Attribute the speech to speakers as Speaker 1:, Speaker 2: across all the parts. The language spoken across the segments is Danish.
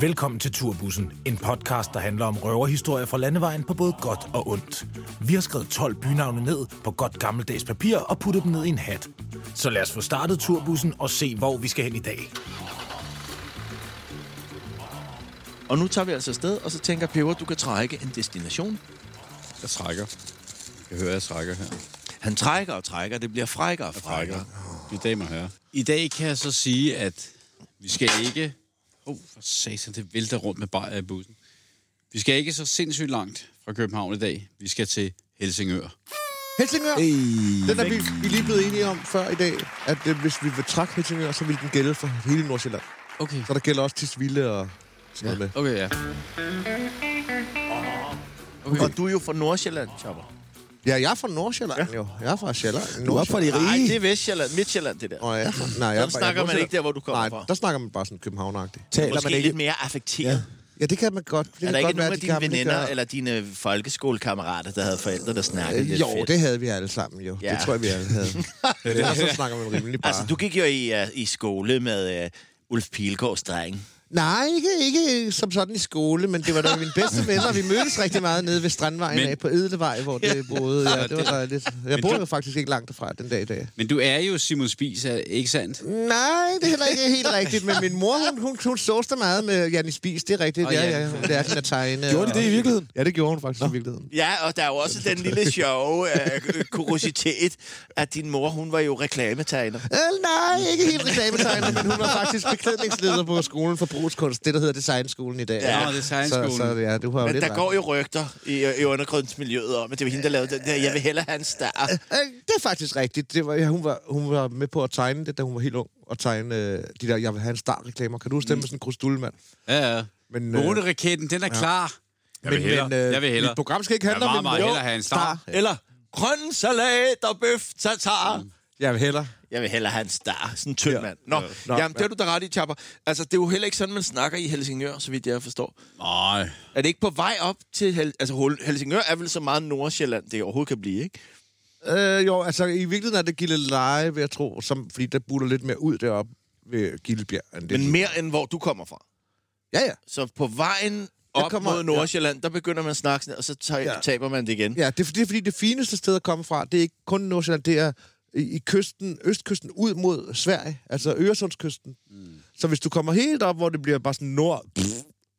Speaker 1: Velkommen til Turbussen, en podcast, der handler om røverhistorier fra landevejen på både godt og ondt. Vi har skrevet 12 bynavne ned på godt gammeldags papir og puttet dem ned i en hat. Så lad os få startet Turbussen og se, hvor vi skal hen i dag.
Speaker 2: Og nu tager vi altså afsted, og så tænker Peber, du kan trække en destination.
Speaker 3: Jeg trækker. Jeg hører, jeg trækker her.
Speaker 2: Han trækker og trækker, det bliver frækkere og
Speaker 3: Trækker.
Speaker 2: frækkere.
Speaker 3: Mine damer og herrer. I dag kan jeg så sige, at vi skal ikke... Åh, oh, for satan, det vælter rundt med bajer i bussen. Vi skal ikke så sindssygt langt fra København i dag. Vi skal til Helsingør.
Speaker 4: Helsingør, hey. den er vi, vi lige blevet enige om før i dag, at øh, hvis vi vil trække Helsingør, så vil den gælde for hele Nordsjælland.
Speaker 3: Okay.
Speaker 4: Så der gælder også Tisvilde og sådan noget med.
Speaker 3: Okay, ja.
Speaker 2: Okay. Og du er jo fra Nordsjælland, Chopper.
Speaker 4: Ja, jeg er fra Nordsjælland ja. jo. Jeg er fra Sjælland. Du
Speaker 5: er fra de
Speaker 2: Nej,
Speaker 5: rige.
Speaker 2: det er Vestsjælland, Midtsjælland, det der.
Speaker 4: Og jeg er fra, nej, jeg
Speaker 2: Der
Speaker 4: er fra-
Speaker 2: snakker
Speaker 4: jeg er
Speaker 2: man ikke der, hvor du kommer
Speaker 4: nej,
Speaker 2: fra.
Speaker 4: der snakker man bare sådan københavneragtigt.
Speaker 5: Taler
Speaker 2: Måske
Speaker 5: man ikke...
Speaker 2: lidt mere
Speaker 4: Ja.
Speaker 2: affekteret. Ja.
Speaker 4: ja, det kan man godt. Det
Speaker 2: Er
Speaker 4: kan
Speaker 2: der ikke
Speaker 4: godt
Speaker 2: nogen af
Speaker 4: at de
Speaker 2: dine
Speaker 4: kan, men det
Speaker 2: veninder
Speaker 4: gør-
Speaker 2: eller dine folkeskolekammerater, der havde forældre, der snakkede
Speaker 4: Øh,
Speaker 2: lidt
Speaker 4: Jo,
Speaker 2: fedt?
Speaker 4: det havde vi alle sammen jo.
Speaker 2: Ja.
Speaker 4: Det tror jeg, vi alle havde. Ellers så snakker man rimelig bare.
Speaker 2: Altså, du gik jo i, uh, i skole med uh, Ulf Pilgaards dreng.
Speaker 4: Nej, ikke, ikke som sådan i skole, men det var da mine bedste venner. Vi mødtes rigtig meget nede ved Strandvejen
Speaker 3: Men-
Speaker 4: men... af på Edelvej, hvor det boede. Ja, det var
Speaker 3: det-
Speaker 4: dejligt. Jeg
Speaker 3: Men
Speaker 4: bor
Speaker 3: du-
Speaker 4: jo faktisk ikke langt derfra den dag i dag.
Speaker 3: Men du er jo Simon Spies, er- ikke sandt?
Speaker 4: Nej, det er heller ikke helt rigtigt, men min mor, hun, hun, hun sås der meget med Janni Spis, det er rigtigt.
Speaker 3: Og
Speaker 4: Ja,
Speaker 3: Janni.
Speaker 4: ja, hun lærte hende at tegne.
Speaker 5: Gjorde de det i virkeligheden?
Speaker 4: Ja, det gjorde hun faktisk Nå. i virkeligheden.
Speaker 2: Ja, og der er jo også den lille sjove uh, kuriositet, at din mor, hun var jo reklametegner.
Speaker 4: Øh, nej, ikke helt reklametegner, men hun var faktisk beklædningsleder på skolen for brugskunst, det der hedder Designskolen i dag.
Speaker 3: Ja, Designskolen.
Speaker 4: Så, så ja, du har jo
Speaker 2: Men
Speaker 4: lidt
Speaker 2: der
Speaker 4: ret.
Speaker 2: går jo rygter i, i undergrundsmiljøet om, at det var hende, der lavede den der, jeg vil hellere have en star.
Speaker 4: Øh, det er faktisk rigtigt. Det var, ja, hun, var, hun var med på at tegne det, da hun var helt ung. Og tegne øh, de der, jeg vil have en star-reklamer. Kan du stemme mm. med sådan en krustulmand?
Speaker 3: Ja, ja.
Speaker 4: Men, øh,
Speaker 3: Måneraketten, den er klar. øh, Jeg vil hellere. jeg vil hellere.
Speaker 4: Mit program skal ikke
Speaker 3: Jeg vil
Speaker 4: handle
Speaker 3: meget,
Speaker 4: om en
Speaker 3: meget
Speaker 4: mål.
Speaker 3: hellere have en star.
Speaker 2: Eller grøn salat og bøf tatar.
Speaker 4: Jeg vil hellere.
Speaker 2: Jeg vil hellere have en star. Sådan en tynd Mm. ja. mand. Nå,
Speaker 4: Nå,
Speaker 2: ja. jamen, det har du da ret i, Chapper. Altså, det er jo heller ikke sådan, man snakker i Helsingør, så vidt jeg forstår.
Speaker 3: Nej.
Speaker 2: Er det ikke på vej op til... Hel altså, Hol- Helsingør er vel så meget Nordsjælland, det overhovedet kan blive, ikke?
Speaker 4: Øh, jo, altså i virkeligheden er det Gilleleje, vil jeg tro. Som, fordi der buller lidt mere ud deroppe ved Gillebjerg. End det.
Speaker 2: Men mere end hvor du kommer fra.
Speaker 4: Ja, ja.
Speaker 2: Så på vejen op
Speaker 4: kommer-
Speaker 2: mod Nordsjælland, der begynder man at snakke, sådan, og så tager, ja.
Speaker 4: Ja.
Speaker 2: taber man det igen.
Speaker 4: Ja, det er, fordi- det er fordi det fineste sted at komme fra, det er ikke kun Nordsjælland, det er i, i kysten, østkysten ud mod Sverige, altså Øresundskysten. Mm. Så hvis du kommer helt op, hvor det bliver bare sådan nord, pff,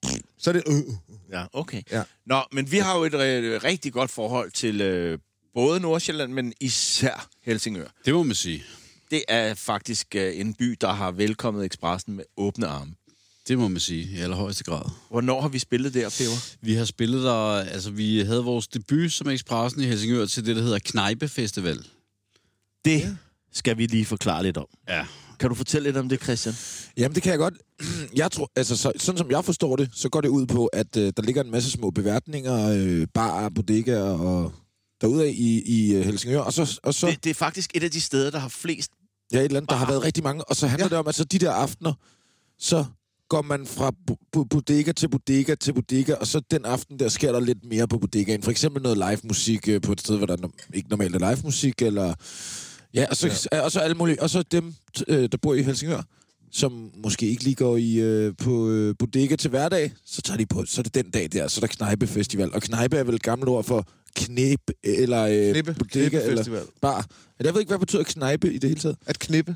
Speaker 4: pff, så er det øh.
Speaker 2: Ja, okay. Ja.
Speaker 4: Ja.
Speaker 2: Nå, men vi har jo et øh, rigtig godt forhold til øh, både Nordsjælland, men især Helsingør.
Speaker 3: Det må man sige.
Speaker 2: Det er faktisk øh, en by, der har velkommet Expressen med åbne arme.
Speaker 3: Det må man sige, i allerhøjeste grad.
Speaker 2: Hvornår har vi spillet der, Peber?
Speaker 3: Vi har spillet der, altså vi havde vores debut som Expressen i Helsingør til det, der hedder Knejpe Festival.
Speaker 2: Det skal vi lige forklare lidt om.
Speaker 3: Ja.
Speaker 2: Kan du fortælle lidt om det, Christian?
Speaker 5: Jamen, det kan jeg godt. Jeg tror, altså, så, sådan som jeg forstår det, så går det ud på, at øh, der ligger en masse små beværtninger, øh, barer, bodegaer og derude i, i øh, Helsingør. Og så, og så
Speaker 2: Det, det er faktisk et af de steder, der har flest...
Speaker 5: ja, et eller andet, der har været rigtig mange. Og så handler ja. det om, at så de der aftener, så går man fra bo- bo- bodega til bodega til bodega, og så den aften der sker der lidt mere på bodegaen. For eksempel noget live musik øh, på et sted, hvor der no- ikke normalt er live musik, eller... Ja, og så, ja. Og så alle mulige... Og så dem, t- øh, der bor i Helsingør, som måske ikke lige går i, øh, på øh, bodega til hverdag, så tager de på, så er det den dag der, så er der knejpefestival. Og knejpe er vel et gammelt ord for knep, eller øh,
Speaker 4: Knippe.
Speaker 5: bodega,
Speaker 4: Knippefestival.
Speaker 5: eller bar. Men jeg ved ikke, hvad betyder knejpe i det hele taget?
Speaker 4: at knippe.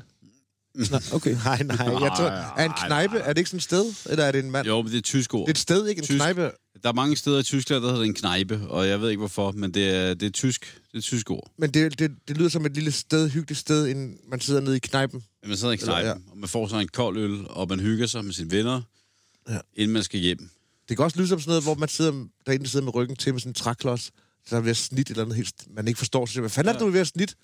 Speaker 5: Snak, okay.
Speaker 4: Nej, nej, jeg tror, er en knejpe, er det ikke sådan et sted, eller er det en mand? Jo.
Speaker 3: Jo, men det er et tysk ord.
Speaker 4: Det er et sted, ikke en
Speaker 3: Tysk.
Speaker 4: Tysk. knejpe.
Speaker 3: Der er mange steder i Tyskland, der hedder det en knejpe, og jeg ved ikke hvorfor, men det er, det er, tysk, det er et tysk ord.
Speaker 4: Men det, det, det lyder som et lille sted, hyggeligt sted, inden man sidder nede i knejpen.
Speaker 3: Man sidder i knejpen,
Speaker 4: Eller,
Speaker 3: og man får sig en kold øl, og man hygger sig med sine venner, ja. inden man skal hjem.
Speaker 4: Det kan også lyde som sådan noget, hvor man sidder, derinde sidder med ryggen til med sådan en træklods, så der bliver snit et eller andet helt, man ikke forstår. Så siger man, hvad fanden er det, du er ved at snit?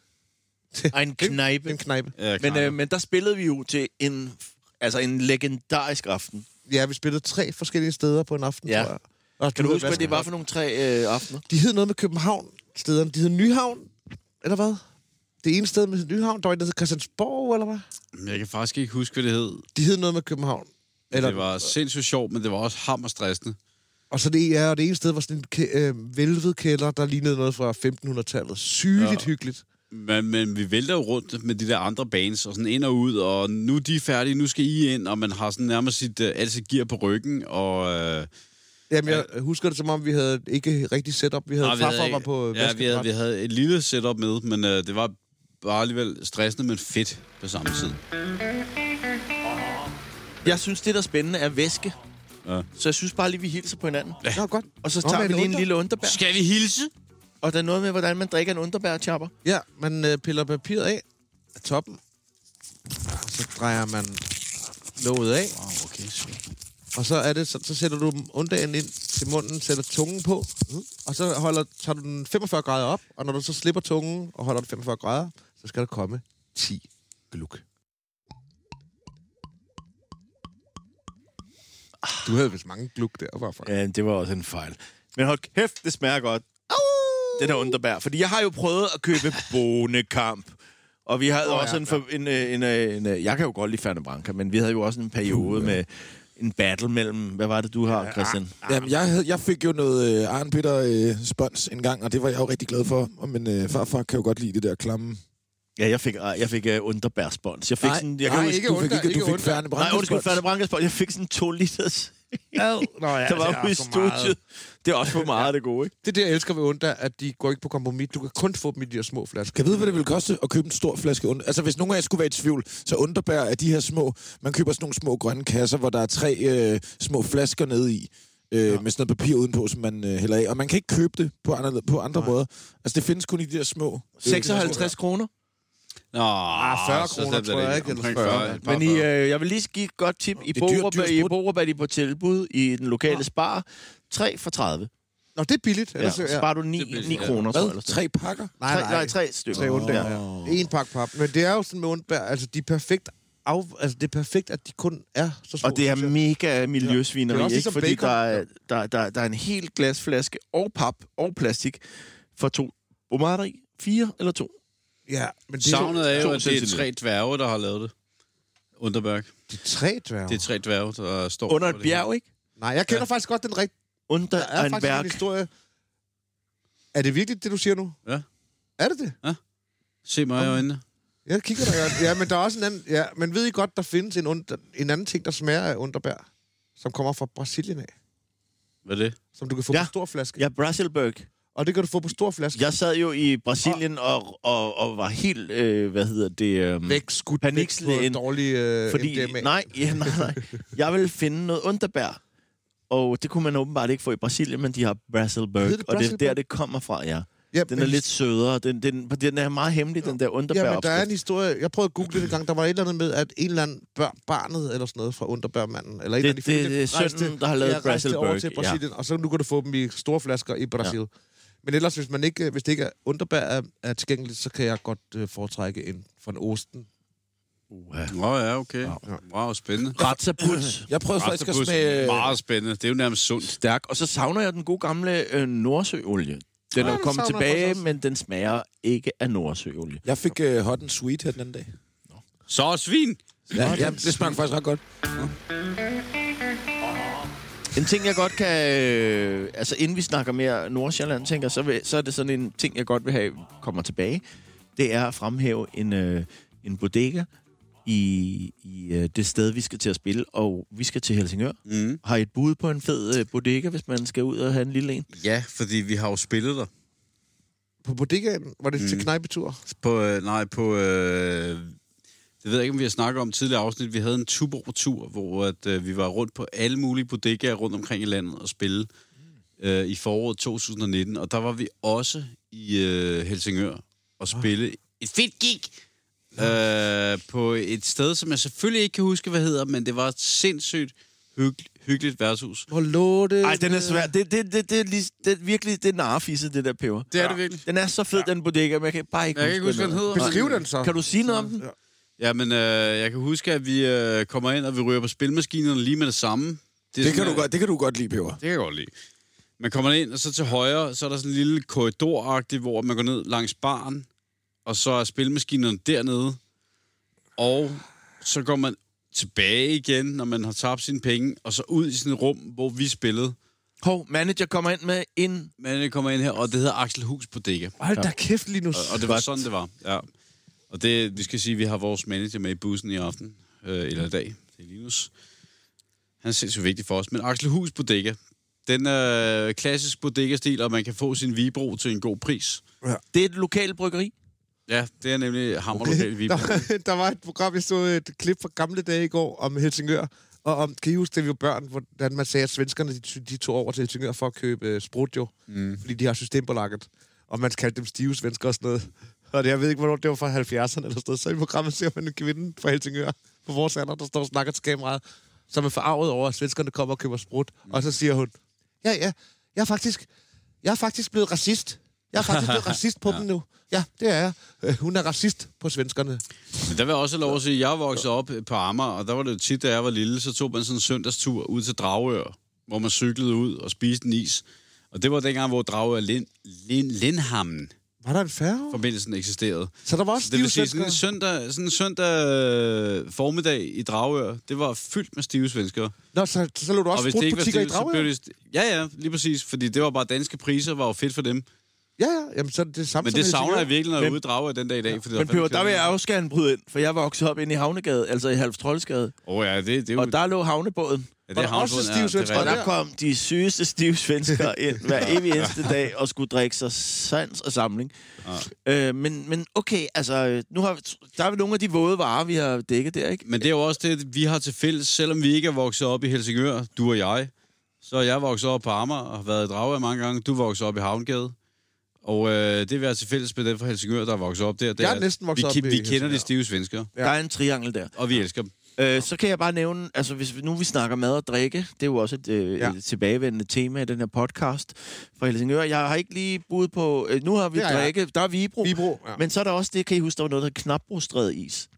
Speaker 2: Ej, en
Speaker 4: Det er en
Speaker 2: knejpe.
Speaker 4: knejpe.
Speaker 3: Ja,
Speaker 2: Men, øh,
Speaker 3: øh,
Speaker 2: men der spillede vi jo til en, altså en legendarisk aften.
Speaker 4: Ja, vi spillede tre forskellige steder på en aften,
Speaker 2: Ja.
Speaker 4: tror jeg. Og
Speaker 2: Kan du huske, hvad det var
Speaker 4: Vaskehavn.
Speaker 2: for nogle tre øh, aftener?
Speaker 4: De hed noget med København stederne. De hed Nyhavn, eller hvad? Det ene sted med Nyhavn, der var et, der hed Christiansborg, eller hvad?
Speaker 3: jeg kan faktisk ikke huske, hvad det hed.
Speaker 4: De hed noget med København.
Speaker 3: Eller...
Speaker 4: Eller,
Speaker 3: Det var sindssygt sjovt, men det var også hammerstressende.
Speaker 4: Og så det, ja, og det ene sted var sådan en kæ- øh, vælvet kælder, der lignede noget fra 1500-tallet. Sygeligt ja. hyggeligt.
Speaker 3: Men, men vi vælter jo rundt med de der andre bands, og sådan ind og ud, og nu er de færdige, nu skal I ind, og man har sådan nærmest sit, øh, alt sit gear på ryggen, og... Øh,
Speaker 4: Jamen, jeg husker det som om, vi havde ikke rigtig setup. Vi havde
Speaker 3: nej, vi havde
Speaker 4: farfar var
Speaker 3: ikke-
Speaker 4: på
Speaker 3: ja, vi havde, vi
Speaker 4: havde.
Speaker 3: havde et lille setup med, men øh, det var bare alligevel stressende, men fedt på samme tid.
Speaker 2: Jeg synes, det der er spændende er væske.
Speaker 3: Ja.
Speaker 2: Ja. Så jeg synes bare lige, vi hilser på hinanden. Ja.
Speaker 4: Nå, godt.
Speaker 2: Og så
Speaker 4: Nå,
Speaker 2: tager
Speaker 4: men
Speaker 2: vi
Speaker 4: en
Speaker 2: lige en
Speaker 4: under-
Speaker 2: lille underbær.
Speaker 3: Skal vi hilse?
Speaker 2: Og der er noget med, hvordan man drikker en underbær-chapper.
Speaker 4: Ja, man øh, piller papiret af af toppen, og så drejer man låget af,
Speaker 3: Wow, okay, sygt.
Speaker 4: og så, er det, så, så sætter du undagen ind til munden, sætter tungen på, og så holder, tager du den 45 grader op, og når du så slipper tungen og holder den 45 grader, så skal der komme 10 gluk. Du havde vist mange gluk der, hvorfor? Ja.
Speaker 2: Ja, det var også en fejl. Men hold kæft, det smager godt. Det der underbær. Fordi jeg har jo prøvet at købe bonekamp. Og vi havde oh, også ja, en, for, en, øh, en, øh, en, øh, Jeg kan jo godt lide Ferne Branca, men vi havde jo også en periode med en battle mellem... Hvad var det, du har, Christian?
Speaker 5: Jamen, jeg, havde, jeg fik jo noget øh, arnbitter øh, spons en gang, og det var jeg jo rigtig glad for. Og Men øh, farfar kan jo godt lide det der klamme.
Speaker 2: Ja, jeg fik, øh, jeg fik uh, underbærspons. Jeg fik sådan... Jeg
Speaker 5: nej,
Speaker 2: huske-
Speaker 5: ikke du fik,
Speaker 4: ondt,
Speaker 5: ikke,
Speaker 4: ikke
Speaker 5: du fik
Speaker 4: ondt.
Speaker 5: færne
Speaker 2: Nej, undskyld,
Speaker 5: brændespons.
Speaker 2: Ferne Branca-spons. Jeg fik sådan to liters,
Speaker 4: Nå, ja,
Speaker 2: der var ude i
Speaker 4: det, er for meget.
Speaker 2: studiet. Det er også for meget af det gode, ikke?
Speaker 4: det er det, jeg elsker ved Unda, at de går ikke på kompromis. Du kan kun få dem i de her små flasker.
Speaker 5: Kan jeg vide, hvad det ville koste at købe en stor flaske under... Altså, hvis nogen af jer skulle være i tvivl, så underbær er de her små... Man køber sådan nogle små grønne kasser, hvor der er tre øh, små flasker nede i. Øh, ja. Med sådan noget papir udenpå, som man øh, hælder af. Og man kan ikke købe det på andre, på andre måder. Altså, det findes kun i de der små... øh,
Speaker 2: 56 kroner.
Speaker 3: Nå, ah,
Speaker 4: 40 kroner, tror jeg ikke, eller 40.
Speaker 2: Men I, øh, jeg vil lige give et godt tip. I
Speaker 5: er dyrt,
Speaker 2: Borup,
Speaker 5: dyrt
Speaker 2: I
Speaker 5: sport.
Speaker 2: Borup er de på tilbud i den lokale spar. 3 for 30.
Speaker 4: Nå, det er billigt.
Speaker 2: Ja,
Speaker 4: Ellers,
Speaker 2: så sparer du 9,
Speaker 3: Det bliver-
Speaker 2: 9
Speaker 3: ja.
Speaker 2: kroner, tror jeg.
Speaker 5: Hvad?
Speaker 2: Eller
Speaker 5: Tre pakker?
Speaker 4: Nej,
Speaker 2: Tre, nej,
Speaker 4: nej.
Speaker 2: tre stykker.
Speaker 4: Tre undtager. Oh. En pakke pap. Men det er jo sådan med undbær, altså de er perfekt, af, altså, det er perfekt, at de kun er så små.
Speaker 2: Og det er mega miljøsvineri, ja.
Speaker 4: Det er
Speaker 2: ikke?
Speaker 4: også ligesom
Speaker 2: Fordi
Speaker 4: bacon.
Speaker 2: der er, der, der, der er en hel glasflaske og pap og plastik for to bombarder i. Fire eller to.
Speaker 4: Ja, men det er, jo-
Speaker 3: Savnet er jo,
Speaker 2: to
Speaker 3: at det er
Speaker 2: centimeter.
Speaker 3: tre dværge, der har lavet det. Underberg.
Speaker 4: det er tre dværge.
Speaker 3: Det er tre dværge, der står
Speaker 2: Under
Speaker 3: for
Speaker 2: et
Speaker 3: det hele.
Speaker 2: bjerg, ikke?
Speaker 4: Nej, jeg kender ja. faktisk godt den rigtige.
Speaker 2: Under
Speaker 4: Der er
Speaker 2: en
Speaker 4: faktisk en
Speaker 2: berg.
Speaker 4: historie. Er det virkelig det, du siger nu?
Speaker 3: Ja.
Speaker 4: Er det det?
Speaker 3: Se mig i øjnene.
Speaker 4: Jeg kigger dig godt. Ja, men der er også en anden... Ja, men ved I godt, der findes en, und, en anden ting, der smager af underbær, som kommer fra Brasilien af,
Speaker 3: Hvad er det?
Speaker 4: som du kan få
Speaker 2: Ja.
Speaker 4: ja. på stor flaske.
Speaker 2: Ja, Brasselberg.
Speaker 4: Og det kan du få på stor flaske.
Speaker 2: Jeg sad jo i Brasilien og, og, og var helt, øh, hvad hedder det... Øh,
Speaker 4: Væk, skudt væk på
Speaker 2: Panikslægen.
Speaker 4: en dårlig øh,
Speaker 2: Fordi,
Speaker 4: MDMA.
Speaker 2: nej, ja, nej, nej. Jeg ville finde noget underbær. Og det kunne man åbenbart ikke få i Brasilien, men de har Brasselberg.
Speaker 4: Hedder det
Speaker 2: Og det er der,
Speaker 4: Brasselberg?
Speaker 2: det kommer fra, ja.
Speaker 4: ja,
Speaker 2: Den er
Speaker 4: men-
Speaker 2: lidt sødere. Den, den, den er meget hemmelig, den der underbær.
Speaker 4: Ja, men der er en historie. Jeg prøvede at google det en gang. Der var et eller andet med, at en eller anden bør, barnet eller sådan noget fra underbørmanden. Eller en
Speaker 2: Det-
Speaker 4: eller anden,
Speaker 2: det- det er
Speaker 4: rejste-
Speaker 2: sønnen, der har lavet
Speaker 4: ja, rejste over
Speaker 2: Brasselburg,
Speaker 4: til
Speaker 2: ja.
Speaker 4: Brasilien, ja. og så nu kan du få dem i store flasker i Brasil. Ja. Men ellers, hvis, man ikke, hvis det ikke er underbær er, er tilgængeligt, så kan jeg godt øh, foretrække en fra en osten.
Speaker 3: Nå ja, okay. Wow, spændende.
Speaker 2: Ratsaput.
Speaker 5: Jeg prøvede faktisk at
Speaker 3: Octopus,
Speaker 5: smage...
Speaker 3: meget spændende. Det er jo nærmest sundt.
Speaker 2: Stærk. Og så savner jeg den gode gamle øh, nordsøolie. Den er jo
Speaker 4: Ah, den
Speaker 2: kommet
Speaker 4: savner jeg
Speaker 2: tilbage,
Speaker 4: faktisk også.
Speaker 2: men den smager ikke af nordsøolie.
Speaker 5: Jeg fik øh, hot and sweet her den anden dag.
Speaker 3: Så er svin!
Speaker 5: Ja, ja, det smagte faktisk ret godt.
Speaker 2: En ting, jeg godt kan... Øh, altså, inden vi snakker mere Nordsjælland, tænker, jeg, så, vil, så er det sådan en ting, jeg godt vil have kommer tilbage. Det er at fremhæve en, øh, en bodega i, i øh, det sted, vi skal til at spille. Og vi skal til Helsingør.
Speaker 3: Mm.
Speaker 2: Har I et bud på en fed øh, bodega, hvis man skal ud og have en lille en?
Speaker 3: Ja, fordi vi har jo spillet der.
Speaker 4: På bodegaen var det mm. til knejpetur.
Speaker 3: På, øh, nej, på... Øh, det ved jeg ikke, om vi har snakket om i tidligere afsnit. Vi havde en Tuborg-tur, hvor at, øh, vi var rundt på alle mulige bodegaer rundt omkring i landet og spille øh, i foråret 2019. Og der var vi også i øh, Helsingør og spille et fedt gig øh, på et sted, som jeg selvfølgelig ikke kan huske, hvad hedder, men det var et sindssygt hygg- hyggeligt værtshus.
Speaker 4: Hvor lå det?
Speaker 2: Nej, den er svær. Det, det, det, det, er lige, det er virkelig det er narfisse, det der peber.
Speaker 3: Det er det virkelig.
Speaker 2: Den er så fed, den bodega, men jeg kan bare ikke,
Speaker 3: Jeg kan ikke huske, hvad den hedder.
Speaker 4: Beskriv den så.
Speaker 2: Kan du sige noget om den?
Speaker 3: Jamen, øh, jeg kan huske, at vi øh, kommer ind, og vi ryger på spilmaskinerne lige med det samme. er
Speaker 5: Det
Speaker 3: sådan,
Speaker 5: kan, du
Speaker 3: at-
Speaker 5: godt, det kan du godt lide, Peber.
Speaker 3: Det kan jeg godt lide. Man kommer ind, og så til højre, så er der sådan en lille korridoragtig, hvor man går ned langs baren, og så er spilmaskinerne dernede, og så går man tilbage igen, når man har tabt sine penge, og så ud i sådan et rum, hvor vi spillede,
Speaker 2: Hov, manager kommer ind med en...
Speaker 3: Men det kommer ind her, og det hedder Axel Hus Bodega.
Speaker 4: Hold da kæft, Linus.
Speaker 3: Og, og det var sådan, det var. Ja. Og det, vi skal sige, at vi har vores manager med i bussen i aften, øh, eller i dag. Det er Linus. Han er sindssygt vigtig for os. Men Axel Hus Bodega, den er øh, klassisk bodega-stil, og man kan få sin Vibro til en god pris.
Speaker 2: Det er et lokalt bryggeri.
Speaker 3: Ja, det er nemlig Hammer Lokal Vibro.
Speaker 4: Der, der var et program, jeg så et klip fra gamle dage i går om Helsingør. Og om, kan I huske, da vi var børn, hvordan man sagde, at svenskerne de, ty- de tog over til Helsingør for at købe uh, sprut, jo. Mm. Fordi de har systembolaget. Og man kaldte dem stive svensker og sådan noget. Og det, jeg ved ikke, hvornår det var fra 70'erne eller sådan noget. Så i programmet ser man en kvinde fra Helsingør på vores alder, der står og snakker til kameraet, som er forarvet over, at svenskerne kommer og køber sprut. Mm. Og så siger hun, ja, ja, jeg er faktisk, jeg er faktisk blevet racist. Jeg er faktisk blevet racist på ja. dem nu. Ja, det er jeg. Øh, hun er racist på svenskerne.
Speaker 3: Men der vil jeg også have lov at sige, at jeg voksede op på Amager, og der var det jo tit, da jeg var lille, så tog man sådan en søndagstur ud til Dragør, hvor man cyklede ud og spiste en is. Og det var dengang, hvor Dragør Lind, Lind, Lindhammen
Speaker 4: Var der en færge?
Speaker 3: forbindelsen eksisterede.
Speaker 4: Så der var også
Speaker 3: Så det
Speaker 4: stive
Speaker 3: vil sige, sådan
Speaker 4: svenskere.
Speaker 3: en søndag, sådan en søndag øh, formiddag i Dragør, det var fyldt med stive svenskere.
Speaker 4: Nå, så, så lå du også sprutbutikker i
Speaker 3: så
Speaker 4: Dragør?
Speaker 3: blev det... Ja, ja, lige præcis, fordi det var bare danske priser, var jo fedt for dem.
Speaker 4: Ja, ja, jamen, så er det samme
Speaker 3: Men
Speaker 4: som
Speaker 3: det savner
Speaker 4: Helsingør.
Speaker 3: jeg virkelig, når jeg er
Speaker 2: Men-
Speaker 3: ude i Dragør den dag i dag. Fordi
Speaker 2: Men Peber, der vil jeg også gerne bryde ind, for jeg voksede op inde i Havnegade, altså i Halvs Trollsgade,
Speaker 3: Åh ja, det, det er jo...
Speaker 2: og der lå havnebåden.
Speaker 3: ja,
Speaker 4: var
Speaker 3: det
Speaker 4: der
Speaker 3: er
Speaker 4: også
Speaker 3: havnebåden, ja, det
Speaker 4: stive
Speaker 3: er
Speaker 4: svenskere
Speaker 2: Og
Speaker 3: rigtigt.
Speaker 2: der kom de sygeste stive svenskere ind hver evig eneste dag og skulle drikke sig sans og samling. Ja. Øh, men, men okay, altså, øh, nu har, vi- der er nogle af de våde varer, vi har dækket der, ikke?
Speaker 3: Men det er jo også det, vi har til fælles, selvom vi ikke er vokset op i Helsingør, du og jeg. Så er jeg vokset op på Amager og har været i Dragør mange gange. Du voksede op i Havngade. Og øh, det vi har til fælles med den fra Helsingør, der er vokset op der, det
Speaker 4: Jeg er
Speaker 3: at
Speaker 4: næsten vokset
Speaker 3: vi,
Speaker 4: op
Speaker 3: ki-
Speaker 4: i
Speaker 3: Vi kender
Speaker 4: Helsingør.
Speaker 3: de stive svensker,
Speaker 2: Ja. Der er en triangel der.
Speaker 3: og vi elsker dem.
Speaker 2: Øh, så kan jeg bare nævne, altså hvis vi, nu vi snakker mad og drikke, det er jo også et, øh,
Speaker 4: Ja.
Speaker 2: ja. et tilbagevendende tema i den her podcast fra Helsingør. Jeg har ikke lige bud på, øh, nu har vi
Speaker 4: Det har jeg.
Speaker 2: drikke, der er Vibro,
Speaker 4: Vibro, ja.
Speaker 2: men så er der også det, kan I huske, der var noget, der hed knapbrostræd is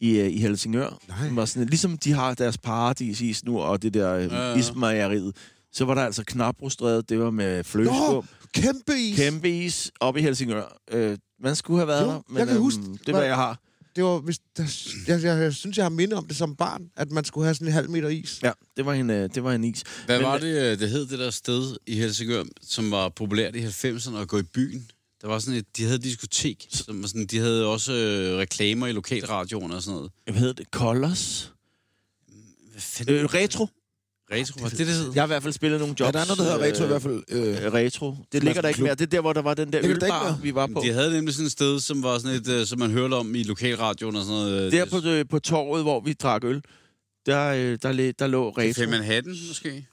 Speaker 2: i, øh, i Helsingør.
Speaker 4: Nej.
Speaker 2: Den Var sådan, ligesom de har deres paradisis nu, og det der øh,
Speaker 3: Ja,
Speaker 2: ja,
Speaker 3: ja.
Speaker 2: ja. ismejeriet, så var der altså knapbrostræd, det var med
Speaker 4: Nå,
Speaker 2: flødeskum,
Speaker 4: kæmpe is.
Speaker 2: kæmpe is oppe i Helsingør. Øh, man skulle have været
Speaker 4: Jo,
Speaker 2: der, men øhm,
Speaker 4: jeg kan huske,
Speaker 2: det er, hvad jeg har.
Speaker 4: Det var, hvis, der, jeg, jeg, jeg, synes, jeg har minde om det som barn, at man skulle have sådan en halv meter is.
Speaker 2: Ja, det var en, øh, det var en is.
Speaker 3: Hvad
Speaker 2: Men-
Speaker 3: var det, øh, det hed det der sted i Helsingør, som var populært i 90'erne at gå i byen? Der var sådan et, de havde et diskotek, som var sådan, de havde også øh, reklamer i lokalradioerne og sådan noget.
Speaker 2: Øh, hvad hedder det, Colors?
Speaker 3: Hvad fanden?
Speaker 2: Øh, retro.
Speaker 3: Retro, var det det, det hed?
Speaker 2: Jeg har i hvert fald spillet nogle jobs.
Speaker 5: Ja, der er noget, der hedder retro i hvert fald. Øh,
Speaker 2: Øh, retro. Det ligger der ikke
Speaker 5: klub.
Speaker 2: mere. Det er der, hvor der var den der
Speaker 5: Ligger der ikke
Speaker 2: ølbar,
Speaker 5: mere?
Speaker 2: vi var på.
Speaker 3: De havde nemlig sådan et sted, som var sådan et, øh, som man hørte om i lokalradioen og sådan noget. øh,
Speaker 2: Der på, øh, på torvet, hvor vi drak øl, der, øh, der, der, der lå
Speaker 3: Café
Speaker 2: retro.
Speaker 3: Manhattan, måske?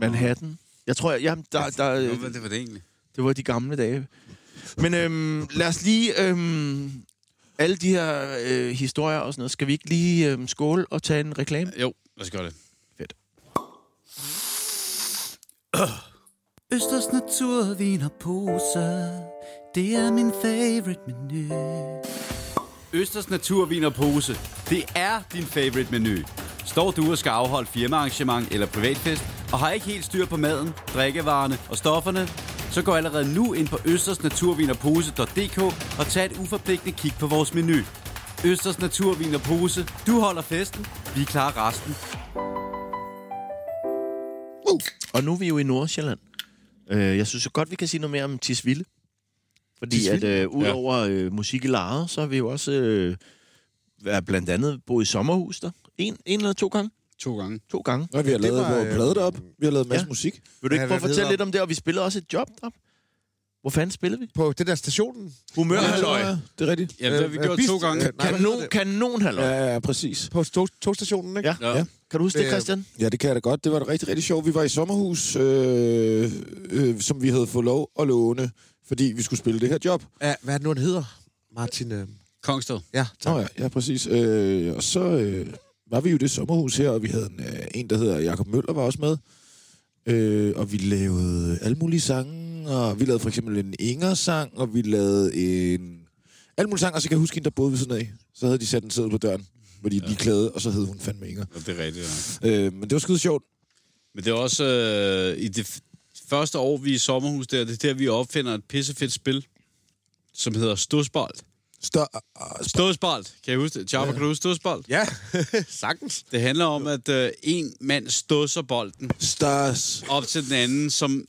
Speaker 2: Manhattan. Jeg tror, jeg, jamen, der, der,
Speaker 3: Nå,
Speaker 2: øh,
Speaker 3: hvad det var det egentlig?
Speaker 2: det var de gamle dage. Men øhm, lad os lige... Øhm, alle de her øh, historier og sådan noget, skal vi ikke lige øhm, skåle og tage en reklame?
Speaker 3: Jo, lad os gøre det.
Speaker 6: Østers naturvin og poser, det er min favorite menu.
Speaker 7: Østers Naturvin og Pose. Det er din favorite menu. Står du og skal afholde firmaarrangement eller privatfest, og har ikke helt styr på maden, drikkevarerne og stofferne, så gå allerede nu ind på østersnaturvinerpose.dk og tag et uforpligtende kig på vores menu. Østers Naturvin og Pose. Du holder festen, vi klarer resten.
Speaker 2: Og nu er vi jo i Nordsjælland. Øh, jeg synes jo godt, vi kan sige noget mere om Tisvilde. Fordi Tisvilde? at øh, udover øh, musik i Lare, så har vi jo også øh, været blandt andet boet i sommerhus der. En, en eller to gange?
Speaker 3: To gange.
Speaker 2: To gange.
Speaker 5: og vi har lavet
Speaker 4: var,
Speaker 5: vores
Speaker 4: øh,
Speaker 5: plade op. Vi har lavet en masse
Speaker 2: ja.
Speaker 5: musik.
Speaker 2: Vil du ikke
Speaker 4: Ja,
Speaker 2: prøve at
Speaker 4: hvad
Speaker 2: fortælle
Speaker 4: hedder-
Speaker 2: lidt om det? Og vi spillede også et job der. Hvor fanden spillede vi?
Speaker 4: På det der stationen.
Speaker 2: Humør,
Speaker 5: Ja,
Speaker 2: halløj.
Speaker 5: det er rigtigt.
Speaker 3: Ja, det har vi
Speaker 4: Øh,
Speaker 3: gjort
Speaker 4: bist-
Speaker 3: to gange.
Speaker 4: øh, nej, hvad hedder
Speaker 2: Kanon,
Speaker 4: det?
Speaker 2: kanon, halløj.
Speaker 5: Ja, ja, præcis.
Speaker 4: På tog- togstationen, ikke?
Speaker 2: Ja.
Speaker 3: Ja.
Speaker 2: Kan du huske det,
Speaker 4: Øh,
Speaker 2: Christian?
Speaker 5: Ja, det kan jeg da godt. Det var da rigtig, rigtig sjovt. Vi var i sommerhus, øh, øh, som vi havde fået lov at låne, fordi vi skulle spille det her job.
Speaker 4: ja. Hvad er det nu, han hedder? Martin... Øh...
Speaker 3: Kongsted.
Speaker 4: Ja,
Speaker 5: Nå
Speaker 4: tak.
Speaker 5: ja, ja, præcis. Øh, og så øh, var vi jo i det sommerhus her, og vi havde en, øh, en der hedder Jakob Møller, var også med. Øh, og vi lavede alle mulige sange, og vi lavede for eksempel en Inger-sang, og vi lavede en... Alle mulige sange, og så kan jeg huske en, der boede ved siden af. Så havde de sat en seddel på døren, hvor de ja. lige klædede, og så hed hun fandme Inger.
Speaker 3: Ja, det er rigtigt. Ja.
Speaker 5: Øh, men det var skide sjovt.
Speaker 3: Men det er også øh, i det f- første år, vi er i sommerhus der, det er der, vi opfinder et pissefedt spil, som hedder Stusbold.
Speaker 5: Stør,
Speaker 3: Stådsbold. Kan I huske det? Chapa, ja. kan du huske stådsbold?
Speaker 4: Ja, sagtens.
Speaker 3: Det handler om, at øh, en mand ståser bolden
Speaker 5: størs.
Speaker 3: op til den anden, som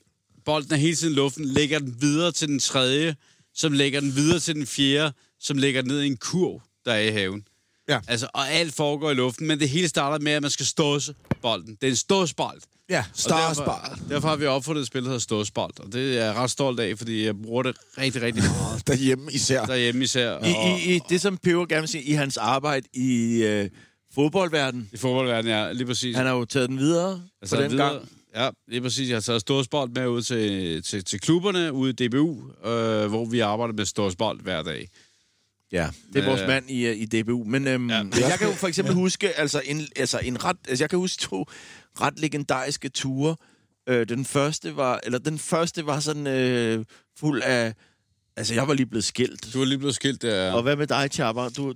Speaker 3: bolden er hele tiden i luften, lægger den videre til den tredje, som lægger den videre til den fjerde, som lægger den ned i en kurv, der er i haven.
Speaker 4: Ja.
Speaker 3: Altså, og alt foregår i luften, men det hele starter med, at man skal ståse bolden. Det er en ståsbold.
Speaker 4: Ja,
Speaker 3: Og derfor-
Speaker 5: Ståsbold.
Speaker 3: Derfor har vi opfundet et spil, der hedder Ståsbold, og det er jeg ret stolt af, fordi jeg bruger det rigtig, rigtig meget
Speaker 5: Derhjemme især.
Speaker 3: derhjemme især.
Speaker 2: I, i, i det, som Peber gerne vil sige, i hans arbejde i øh, fodboldverdenen.
Speaker 3: I fodboldverdenen, ja, lige præcis.
Speaker 2: Han har jo taget den videre altså, på den
Speaker 3: videre-
Speaker 2: gang.
Speaker 3: Ja, lige præcis. Jeg har taget Storsbold med ud til, til, til klubberne ude i DBU, øh, hvor vi arbejder med Storsbold hver dag.
Speaker 2: Ja, det er vores
Speaker 3: Øh.
Speaker 2: mand i, øh, i DBU. Men øhm, ja, jeg kan jo for eksempel ja. huske, altså en, altså en ret, altså jeg kan huske to ret legendariske ture. Øh, den første var, eller den første var sådan øh, fuld af, altså jeg var lige blevet skilt.
Speaker 3: Du er lige blevet skilt der.
Speaker 2: Og hvad med dig, Chapper? Du,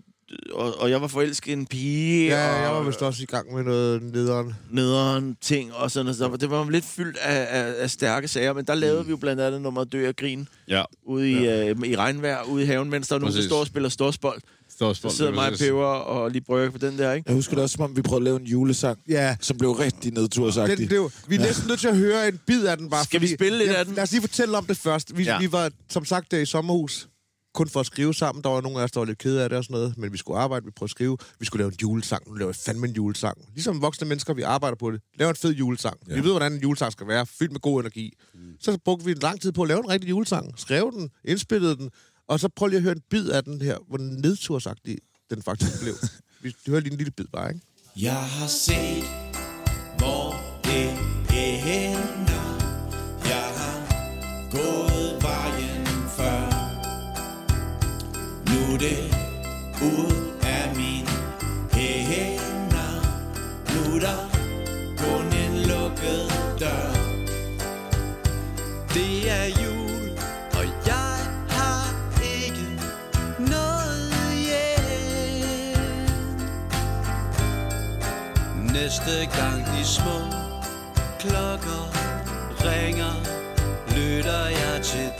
Speaker 2: og, og jeg var forelsket i en pige,
Speaker 4: Ja,
Speaker 2: og
Speaker 4: jeg var vist også i gang med noget nederen.
Speaker 2: nederen ting og sådan noget. Så Det var lidt fyldt af, af, af stærke sager, men der lavede mm. vi jo blandt andet nummer Dø af Grin
Speaker 3: Ja,
Speaker 2: ude i, ja. øh, i regnvejr, ude i haven, mens der er nogen, der
Speaker 3: Præcis.
Speaker 2: står og spiller storsbold.
Speaker 3: Storsbold.
Speaker 2: Så sidder mig og Peber og lige brygger på den der, ikke?
Speaker 5: Jeg husker det også, som om vi prøvede at lave en julesang,
Speaker 4: Ja.
Speaker 5: som blev rigtig nedtursagtig.
Speaker 4: Den blev, vi er næsten nødt til at høre en bid af den bare.
Speaker 2: Skal vi spille lidt
Speaker 4: Ja,
Speaker 2: af den?
Speaker 4: Lad os lige fortælle om det først. Vi,
Speaker 2: Ja.
Speaker 4: ja. vi var som sagt der i sommerhus, kun for at skrive sammen. Der var nogle af os, der var lidt kede af det og sådan noget. Men vi skulle arbejde, vi prøvede at skrive. Vi skulle lave en julesang. Nu laver vi fandme en julesang. Ligesom voksne mennesker, vi arbejder på det. Laver en fed julesang. Ja. Vi ved, hvordan en julesang skal være. Fyldt med god energi. Mm. Så brugte vi lang tid på at lave en rigtig julesang. Skrev den, indspillede den. Og så prøv lige at høre en bid af den her, hvor nedtursagtig den faktisk blev. Vi hører lige en lille bid bare, ikke?
Speaker 8: Jeg har set, hvor det ender. Jeg har gået vejen før. Nu er det ud af min hænder. Nu er der kun en lukket dør. Det er jul, og jeg har ikke noget hjem. Næste gang de små klokker ringer, lytter jeg til dem.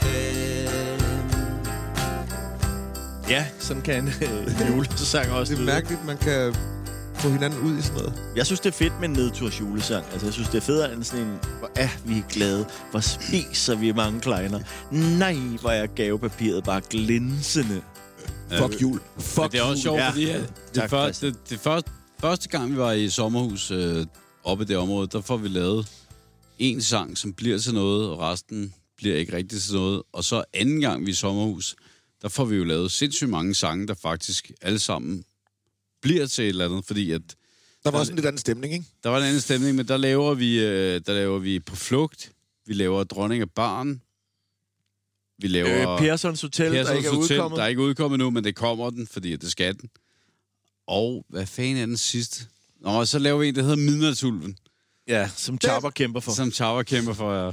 Speaker 2: Ja, sådan kan en øh, julesang også
Speaker 4: Det er
Speaker 2: lyde.
Speaker 4: mærkeligt, man kan få hinanden ud i sådan noget.
Speaker 2: Jeg synes, det er fedt med en nedturs julesang. Altså, jeg synes, det er federe end sådan en, hvor er vi glade, hvor spiser vi mange kleiner. Nej, hvor er gavepapiret bare glinsende.
Speaker 5: Fuck jul. Fuck
Speaker 3: Det er også sjovt,
Speaker 2: Ja.
Speaker 3: ja. fordi at
Speaker 2: Tak,
Speaker 3: det, første,
Speaker 2: Christian.
Speaker 3: det, det første, første gang, vi var i sommerhus øh, oppe i det område, der får vi lavet en sang, som bliver til noget, og resten bliver ikke rigtig til noget. Og så anden gang, vi er i sommerhus, der får vi jo lavet sindssygt mange sange, der faktisk alle sammen bliver til et eller andet, fordi at
Speaker 5: Der var også en lidt anden stemning, ikke?
Speaker 3: der var en anden stemning, men der laver vi, øh, der laver vi på flugt, vi laver dronning af barn, vi laver...
Speaker 2: Øh, Persons Hotel, Persons der
Speaker 3: Persons
Speaker 2: ikke er
Speaker 3: Hotel,
Speaker 2: udkommet.
Speaker 3: Der er ikke udkommet nu, men det kommer den, fordi det skal den. Og hvad fanden er den sidste? Nå, og så laver vi en, der hedder Midnatsulven,
Speaker 2: Ja, som Chapper kæmper for.
Speaker 3: som Tower kæmper for. Ja.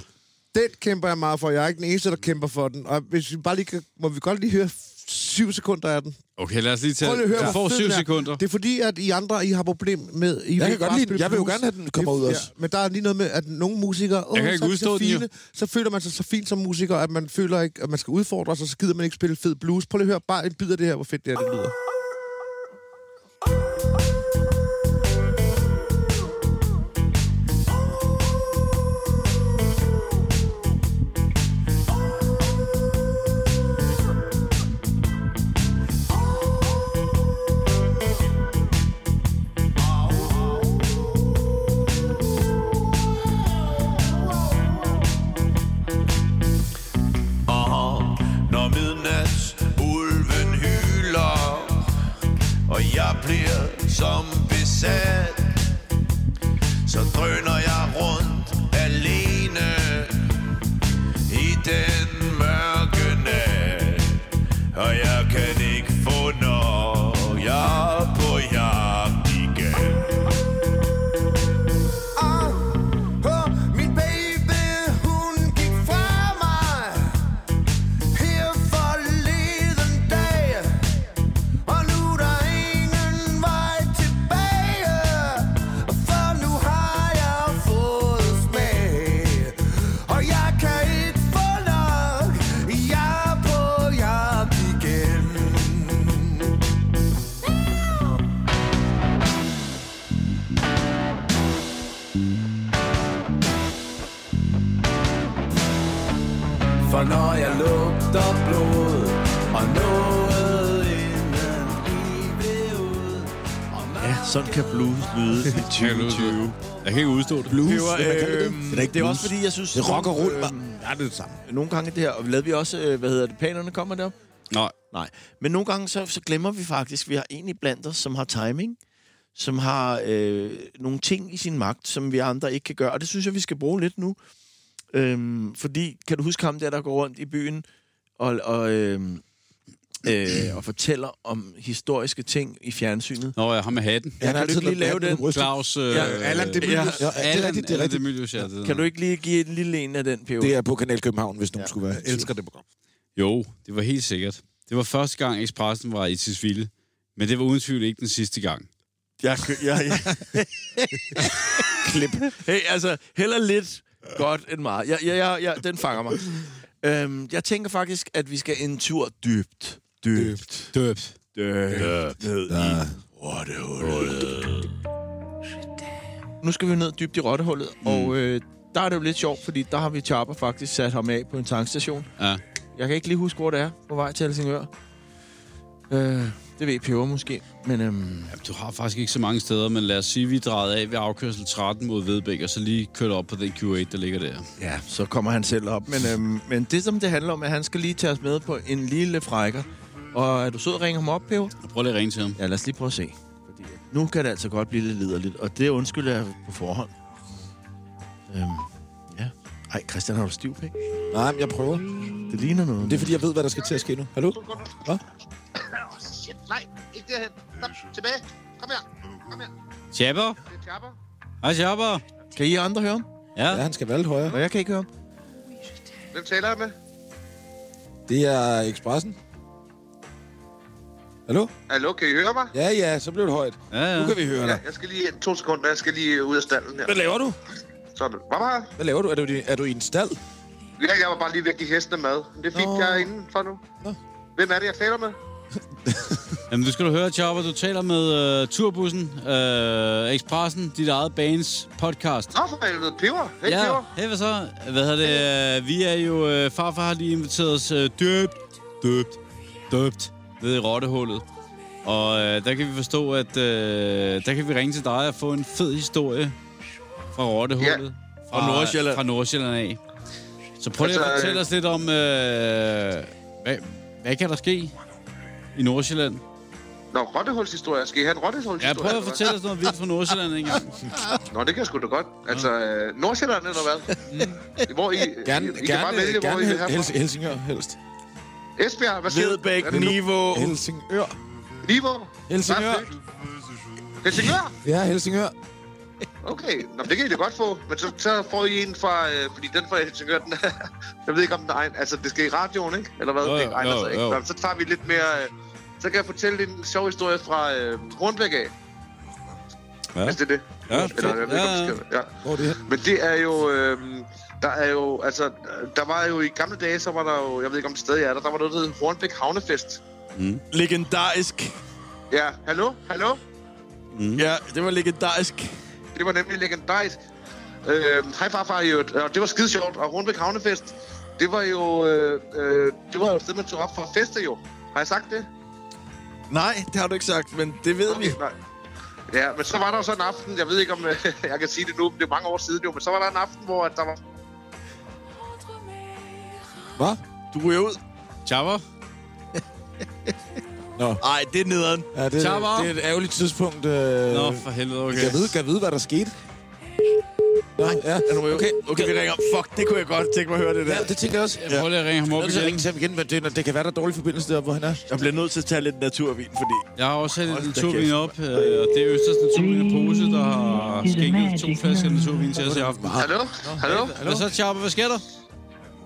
Speaker 4: Den kæmper jeg meget for. Jeg er ikke den eneste, der kæmper for den. Og hvis vi bare lige kan, må vi godt lige høre syv sekunder af den.
Speaker 3: Okay, lad os lige tage...
Speaker 4: Prøv lige at høre,
Speaker 3: du
Speaker 4: hvor
Speaker 3: får
Speaker 4: fed
Speaker 3: syv
Speaker 4: den er.
Speaker 3: sekunder.
Speaker 4: Det er fordi, at I andre, I har problem med... I
Speaker 5: kan
Speaker 4: vil
Speaker 5: godt
Speaker 4: bare
Speaker 5: lide den.
Speaker 4: spille
Speaker 5: Jeg vil jo
Speaker 4: blues.
Speaker 5: gerne have, den kommer
Speaker 4: Det-
Speaker 5: ud også.
Speaker 4: Ja, men der er lige noget med, at nogle musikere... Åh,
Speaker 3: Jeg kan ikke
Speaker 4: så er de
Speaker 3: udstå
Speaker 4: så,
Speaker 3: den, jo.
Speaker 4: fine, så føler man sig så fint som musiker, at man føler ikke, at man skal udfordre sig, så gider man ikke spille fed blues. Prøv lige at høre bare en bid af det her, hvor fedt det er, det lyder.
Speaker 8: Når midnats ulven hyler Og jeg bliver som besat Så drøner jeg rundt alene I den mørke nat Og jeg kan ikke få nok Jeg er på jagt igen Ah, hør, min baby, hun gik fra mig her forleden dag Og nu er der ingen vej tilbage For nu har jeg fået smag Og jeg kan ikke få nok Jeg er på jagt igen For når jeg lugter blod Og noget inden livet ud Og
Speaker 2: Ja, sådan kan blues lyde i 2020.
Speaker 3: Jeg kan ikke udstå det. Blues.
Speaker 2: Det, var, øh, det, er det er også fordi, jeg synes... Det
Speaker 5: rock og roll,
Speaker 2: Øh, ja, det er det samme. Nogle gange det her, og lavede vi også, øh, hvad hedder det, planerne kommer derop?
Speaker 3: Nej.
Speaker 2: Nej. Men nogle gange, så, så glemmer vi faktisk, vi har en i blandt os, som har timing, som har øh, nogle ting i sin magt, som vi andre ikke kan gøre. Og det synes jeg, vi skal bruge lidt nu. Øhm, fordi, kan du huske ham der, der går rundt i byen og, og, øhm, øh, og fortæller om historiske ting i fjernsynet?
Speaker 3: Nå, jeg har med hatten.
Speaker 2: Ja, kan du ikke lige lave den?
Speaker 3: Claus... Øh,
Speaker 2: Ja,
Speaker 5: Allan de
Speaker 2: Ja.
Speaker 5: Mylius. Ja, det er rigtigt, det er rigtigt.
Speaker 3: Demilius, ja. det er
Speaker 2: Kan du ikke lige give en lille en af den, P.O.?
Speaker 5: Det er på Kanal København, hvis nogen skulle være. Jeg elsker det program.
Speaker 3: Jo, det var helt sikkert. Det var første gang, Expressen var i Tisvilde. Men det var uden tvivl ikke den sidste gang.
Speaker 2: Jeg, kø- jeg, jeg. Klip. Hey, altså, heller lidt godt end meget. Jeg, jeg, jeg, jeg, den fanger mig. Øhm, jeg tænker faktisk, at vi skal en tur dybt. Dybt.
Speaker 3: Døbt.
Speaker 2: Dybt. Ned i rottehullet. Nu skal vi ned dybt i rottehullet, og øh, der er det jo lidt sjovt, fordi der har vi Chopper faktisk sat ham af på en tankstation.
Speaker 3: Ja.
Speaker 2: Jeg kan ikke lige huske, hvor det er på vej til Helsingør. Øh, det ved P.O. måske, men... Øhm,
Speaker 3: Jamen, du har faktisk ikke så mange steder, men lad os sige, at vi drejede af ved afkørsel 13 mod Vedbæk, og så lige kørte op på den Q8, der ligger der.
Speaker 2: Ja, så kommer han selv op. Men, øhm, men det, som det handler om, er, at han skal lige tage os med på en lille frækker. Og er du sød at ringe ham op, Pio?
Speaker 3: Jeg prøver lige at ringe til ham.
Speaker 2: Ja, lad os lige prøve at se. Fordi at nu kan det altså godt blive lidt liderligt, og det undskylder jeg på forhånd. Øhm, ja. Ej, Christian, har du stiv pæk?
Speaker 5: Nej, men jeg prøver.
Speaker 2: Det ligner noget.
Speaker 5: Det er, fordi jeg ved, hvad der skal til at ske nu. Hallo? Hvad?
Speaker 9: Åh, shit, nej, ikke derhen. Stop, tilbage. Kom her, kom her.
Speaker 3: Chapper?
Speaker 9: Det er Chapper.
Speaker 3: Hej, Chapper.
Speaker 2: Kan I andre høre ham?
Speaker 3: Ja.
Speaker 5: Ja, han skal være lidt højere.
Speaker 2: Og jeg kan ikke høre ham.
Speaker 9: Hvem taler jeg med?
Speaker 5: Det er Expressen. Hallo?
Speaker 9: Hallo, kan I høre mig?
Speaker 5: Ja, ja, så blev det højt.
Speaker 3: Ja, ja.
Speaker 5: Nu kan vi høre
Speaker 9: Ja,
Speaker 5: dig.
Speaker 9: jeg skal lige to sekunder. Jeg skal lige ud af stallen her.
Speaker 5: Hvad laver du?
Speaker 9: Sådan. Hvad var jeg?
Speaker 5: Hvad laver du? Er du, i- er du i en stald?
Speaker 9: Ja, jeg var bare lige væk i hestene mad. Men det er fint, jeg er inde for nu.
Speaker 5: Nå.
Speaker 9: Hvem er det, jeg taler med?
Speaker 3: Jamen, du skal du høre, Chopper, du taler med uh, Turbussen, uh, Expressen, dit eget bands podcast.
Speaker 9: Nå, for helvede, peber. Hey,
Speaker 3: ja,
Speaker 9: peber.
Speaker 3: hey, hvad så? Hvad hedder det? øh, Vi er jo... øh, farfar har lige inviteret os øh, døbt, døbt, døbt ned i rottehullet. Og øh, der kan vi forstå, at øh, der kan vi ringe til dig og få en fed historie fra rottehullet. Fra,
Speaker 2: Nordsjælland.
Speaker 3: Fra Nordsjælland af. Så prøv lige at
Speaker 9: Altså, øh,
Speaker 3: fortælle os lidt om, øh, hvad, hvad kan der ske i Nordsjælland?
Speaker 9: Nå, rottehulshistorie. Skal I have en
Speaker 3: Ja,
Speaker 9: rottehulshistorie?
Speaker 3: prøv at
Speaker 9: eller hvad?
Speaker 3: fortælle os noget vildt fra Nordsjælland engang.
Speaker 9: Nå, det kan jeg sgu da godt. Altså, øh, Nordsjælland eller hvad? Hvor I,
Speaker 5: Gerne,
Speaker 9: I, I kan bare
Speaker 5: gerne,
Speaker 9: vælge, hvor I
Speaker 5: gerne
Speaker 9: vil have
Speaker 5: Hels-
Speaker 9: fra.
Speaker 5: Helsingør helst.
Speaker 9: Esbjerg, hvad siger du?
Speaker 2: Vedbæk,
Speaker 9: Er det nu?
Speaker 2: Niveau.
Speaker 5: Helsingør.
Speaker 9: Niveau.
Speaker 5: Helsingør.
Speaker 9: Helsingør?
Speaker 5: Ja, Helsingør.
Speaker 9: Okay, Nå, men det kan I da godt få, men så, så får I en fra, øh, fordi den fra Helsingør, den er, jeg ved ikke om den er egen, altså det skal i radioen, ikke? Eller hvad?
Speaker 3: Jo, jo,
Speaker 9: det egner
Speaker 3: jo,
Speaker 9: sig, ikke?
Speaker 3: jo.
Speaker 9: Nå, så tager vi lidt mere, øh, så kan jeg fortælle en sjov historie fra øh, Rundbæk af. Ja. Hvis det er det.
Speaker 3: Ja,
Speaker 9: Eller, jeg ved ikke, om
Speaker 3: Ja,
Speaker 9: det skal, ja.
Speaker 5: Hvor er det her?
Speaker 9: Men det er jo... Øh, der er jo, altså, der var jo i gamle dage, så var der jo, jeg ved ikke om det stadig er der, der var noget, der hed Hornbæk Havnefest.
Speaker 2: Legendarisk.
Speaker 9: Ja, hallo, hallo?
Speaker 2: Ja, det var legendarisk.
Speaker 9: Det var nemlig legendarisk. Øh, hej farfar, i øvrigt. Og det var skide sjovt. Og Rundbæk Havnefest, det var jo... Øh, øh, det var jo et sted, man tog op for at feste jo. Har jeg sagt det?
Speaker 2: Nej, det har du ikke sagt, men det ved vi.
Speaker 9: Nej. Ja, men så var der jo så en aften, jeg ved ikke om øh, jeg kan sige det nu, men det er mange år siden jo, men så var der en aften, hvor at der var...
Speaker 5: Hvad?
Speaker 2: Du ryger ud.
Speaker 3: Chopper?
Speaker 2: Ej, det er nederen.
Speaker 5: Ja, det,
Speaker 3: Tag mig op.
Speaker 5: det er et ærgerligt tidspunkt. Øh,
Speaker 3: Nå, for helvede, okay.
Speaker 5: Jeg ved, jeg ved, hvad der skete. Nå, ja.
Speaker 2: Okay, okay, okay vi ringer. Fuck, det kunne jeg godt tænke mig at høre det der.
Speaker 5: ja, det tænker jeg også.
Speaker 3: Prøv lige at ringe ham op
Speaker 5: Jeg skal
Speaker 3: igen.
Speaker 5: ringe til ham igen, men det, det kan være, der er dårlig forbindelse der, hvor han er.
Speaker 2: Jeg bliver nødt til at tage lidt naturvin, fordi
Speaker 3: Jeg har også hældt
Speaker 2: Hold da
Speaker 3: naturvin
Speaker 2: kæft.
Speaker 3: op, øh, og det er Østers naturvin i pose, der har skænket to flasker naturvin til os i aften.
Speaker 5: Ah.
Speaker 9: Hallo? Hallo?
Speaker 3: Hvad så, Chopper? Hvad sker der?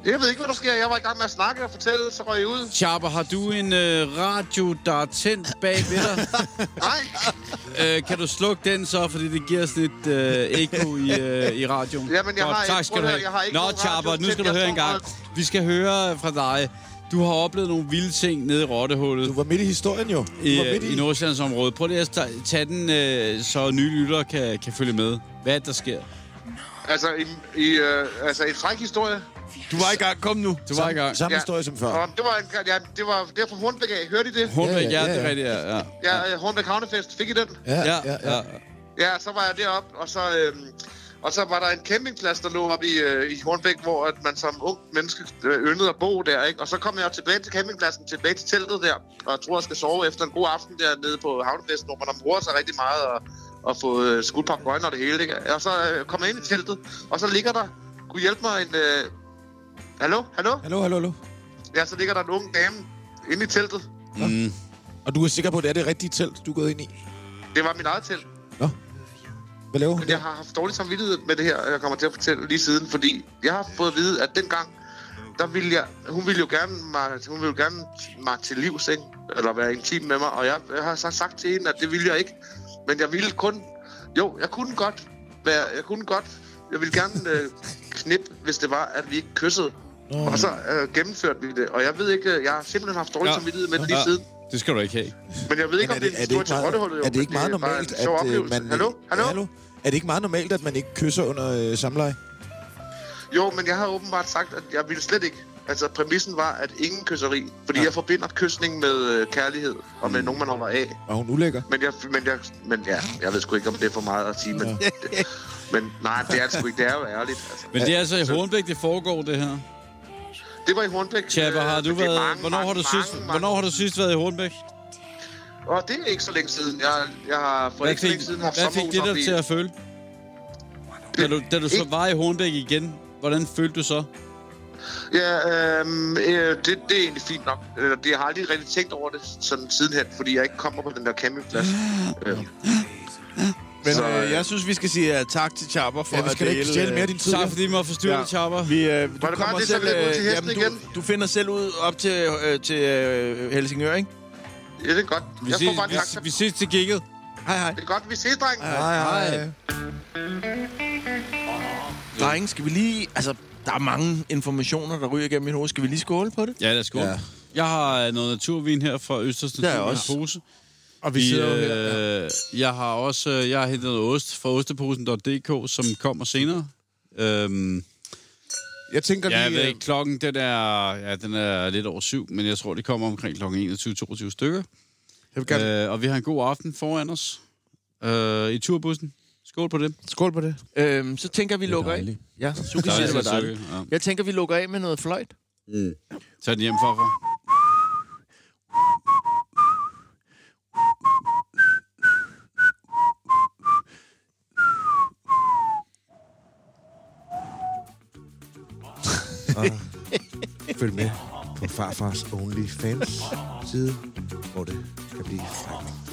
Speaker 9: Jeg ved ikke, hvad der sker. Jeg var i gang med at snakke og fortælle, så røg jeg ud.
Speaker 3: Chopper, har du en øh, radio, der er tændt bag ved dig?
Speaker 9: Nej,
Speaker 3: øh, kan du slukke den så, fordi det giver sådan et øh, ekko i, øh, i radioen?
Speaker 9: Jamen, jeg
Speaker 3: Godt,
Speaker 9: har ikke-
Speaker 3: tak skal
Speaker 9: prøv
Speaker 3: du
Speaker 9: at
Speaker 3: have.
Speaker 9: høre, jeg har ikke
Speaker 3: Nå,
Speaker 9: nogen radio
Speaker 3: Chopper, nu
Speaker 9: tændt.
Speaker 3: skal du
Speaker 9: Jeg
Speaker 3: høre en
Speaker 9: står
Speaker 3: gang. Vi skal høre fra dig. Du har oplevet nogle vilde ting nede i Rottehullet.
Speaker 5: Du var midt i historien jo. Du
Speaker 3: i, øh,
Speaker 5: var midt
Speaker 3: i Nordsjællandsområdet. Prøv lige at ta- tage den, øh, så nye lyttere kan, kan følge med. Hvad er det, der sker?
Speaker 9: altså i, i øh, altså, en fræk historie.
Speaker 2: Du var i gang. Kom nu.
Speaker 3: Du var i gang.
Speaker 5: Samme
Speaker 9: Ja.
Speaker 5: historie som før.
Speaker 9: Og det var, en, ja, det var derfor Hornbæk af. Hørte I det?
Speaker 3: Hornbæk, ja,
Speaker 5: ja,
Speaker 3: det er
Speaker 5: ja.
Speaker 3: rigtigt, ja. ja.
Speaker 9: Ja, øh, Hornbæk Havnefest. Fik I den?
Speaker 3: Ja, ja.
Speaker 9: Ja, så var jeg deroppe, og så, øhm, og så var der en campingplads, der lå oppe i, øh, i Hornbæk, hvor at man som ung menneske øh, yndede at bo der. Ikke? Og så kom jeg tilbage til campingpladsen, tilbage til teltet der, og jeg tror, jeg skal sove efter en god aften dernede på havnefesten, hvor man har moret sig rigtig meget og, og få øh, skudt papagøjen og det hele. Ikke? Og så øh, kom jeg ind i teltet, og så ligger der, kunne hjælpe mig en... Øh, hallo? Hallo?
Speaker 5: Hallo, hallo, hallo.
Speaker 9: Ja, så ligger der en ung dame inde i teltet.
Speaker 5: Og du er sikker på, at det er det rigtige telt, du er gået ind i?
Speaker 9: Det var mit eget telt.
Speaker 5: Hvad laver hun?
Speaker 9: Men jeg har haft dårlig samvittighed med det her, jeg kommer til at fortælle lige siden, fordi jeg har fået at vide, at dengang, der ville jeg, hun ville jo gerne mig, hun ville jo gerne mig til livs, ikke? eller være intim med mig, og jeg, jeg har så sagt til hende, at det ville jeg ikke, men jeg ville kun, jo, jeg kunne godt være, jeg kunne godt, jeg ville gerne øh, knippe, hvis det var, at vi ikke kyssede. Og så øh, gennemførte vi det, og jeg ved ikke, øh, jeg har simpelthen haft dårlig
Speaker 3: Ja.
Speaker 9: samvittighed med det lige
Speaker 3: Ja.
Speaker 9: siden,
Speaker 3: Det skal du ikke have.
Speaker 9: men jeg ved ikke,
Speaker 5: Men
Speaker 9: om det er en
Speaker 5: er det
Speaker 9: stor
Speaker 5: ikke
Speaker 9: til
Speaker 5: meget,
Speaker 9: rottehullet, jo,
Speaker 5: er det
Speaker 9: men
Speaker 5: ikke meget
Speaker 9: er bare
Speaker 5: normalt,
Speaker 9: en sjov
Speaker 5: at øh,
Speaker 9: oplevelse.
Speaker 5: man...
Speaker 9: Hallo? Hallo?
Speaker 5: hallo? Er det ikke meget normalt, at man ikke kysser under øh, samleje?
Speaker 9: Jo, men jeg har åbenbart sagt, at jeg ville slet ikke. Altså, præmissen var, at ingen kysseri. Fordi ja. jeg forbinder kysning med øh, kærlighed og
Speaker 5: Mm.
Speaker 9: med nogen, man holder af.
Speaker 5: Og hun ulækker.
Speaker 9: Men jeg, men jeg, men ja, jeg ved sgu ikke, om det er for meget at sige, men, ja. men nej, det er det sgu ikke. Det er jo ærligt. Altså.
Speaker 3: Men det er altså i Hornbæk, det foregår, det her.
Speaker 9: Det var i Hornbæk.
Speaker 3: Tja, hvor har
Speaker 9: øh,
Speaker 3: du
Speaker 9: men det er
Speaker 3: været...
Speaker 9: mange,
Speaker 3: hvornår, har du
Speaker 9: mange,
Speaker 3: sidst,
Speaker 9: mange-
Speaker 3: hvornår har du sidst været i Hornbæk?
Speaker 9: Åh, det er ikke så længe siden. Jeg, jeg har for
Speaker 3: Hvad
Speaker 9: ikke så
Speaker 3: fik,
Speaker 9: længe siden haft
Speaker 3: hvad fik det der
Speaker 9: sommerhus
Speaker 3: til
Speaker 9: oppe
Speaker 3: at føle? Da du, da du så var i Hornbæk igen, hvordan følte du så?
Speaker 9: i- Ja, øhm, øh, det, det er egentlig fint nok. Eller, det, jeg har aldrig rigtig tænkt over det sådan sidenhen, fordi jeg ikke kommer på den der campingplads. Øh,
Speaker 2: Men
Speaker 9: Så,
Speaker 2: øh,
Speaker 9: øh,
Speaker 2: jeg synes, vi skal sige uh, tak til Chapper for øh,
Speaker 5: Ja, vi skal da ikke stjæle mere af din tid.
Speaker 3: Tak fordi I må forstyrre ja. Chapper.
Speaker 2: Vi, øh, du
Speaker 9: Var det bare
Speaker 2: kommer
Speaker 9: det, så
Speaker 2: selv,
Speaker 9: løb ud til hesten
Speaker 2: jamen,
Speaker 9: igen?
Speaker 2: du, du finder selv ud op til, øh, til øh, Helsingør, ikke?
Speaker 9: ja, det er godt.
Speaker 3: Vi
Speaker 9: Jeg
Speaker 3: ses,
Speaker 9: får bare en taxa.
Speaker 3: vi, vi ses til gigget.
Speaker 2: Hej, hej.
Speaker 9: Det er godt, vi ses, drenge.
Speaker 2: Ah.
Speaker 5: Nej, nej.
Speaker 2: Drenge, skal vi lige... Altså, der er mange informationer, der ryger igennem min hoved. Skal vi lige skåle på det?
Speaker 3: Ja, lad os gå. Ja. Jeg har øh, noget naturvin her fra Østers
Speaker 2: har jeg
Speaker 3: Natur
Speaker 2: også.
Speaker 3: i en pose.
Speaker 5: Og
Speaker 3: Vi, øh, jeg har også øh, jeg har hentet noget ost fra osteposen.dk, som kommer senere. Øhm,
Speaker 4: Jeg tænker
Speaker 3: ja, jeg ved
Speaker 4: lige...
Speaker 3: ikke, klokken den er, ja, den er lidt over syv, men jeg tror, det kommer omkring klokken 21-22 stykker.
Speaker 4: Jeg vil gerne...
Speaker 3: Øh, og vi har en god aften foran os øh, i turbussen. Skål på det.
Speaker 4: Skål på det.
Speaker 2: Øhm, så tænker vi lukker af.
Speaker 5: dejligt.
Speaker 2: Ja, Suki
Speaker 3: Der
Speaker 2: siger,
Speaker 3: er
Speaker 2: det var dejligt.
Speaker 3: sukker, ja.
Speaker 2: Jeg tænker, vi lukker af med noget fløjt.
Speaker 3: Tag den hjem, farfar.
Speaker 4: Følg med på farfars OnlyFans side, hvor det kan blive frækt.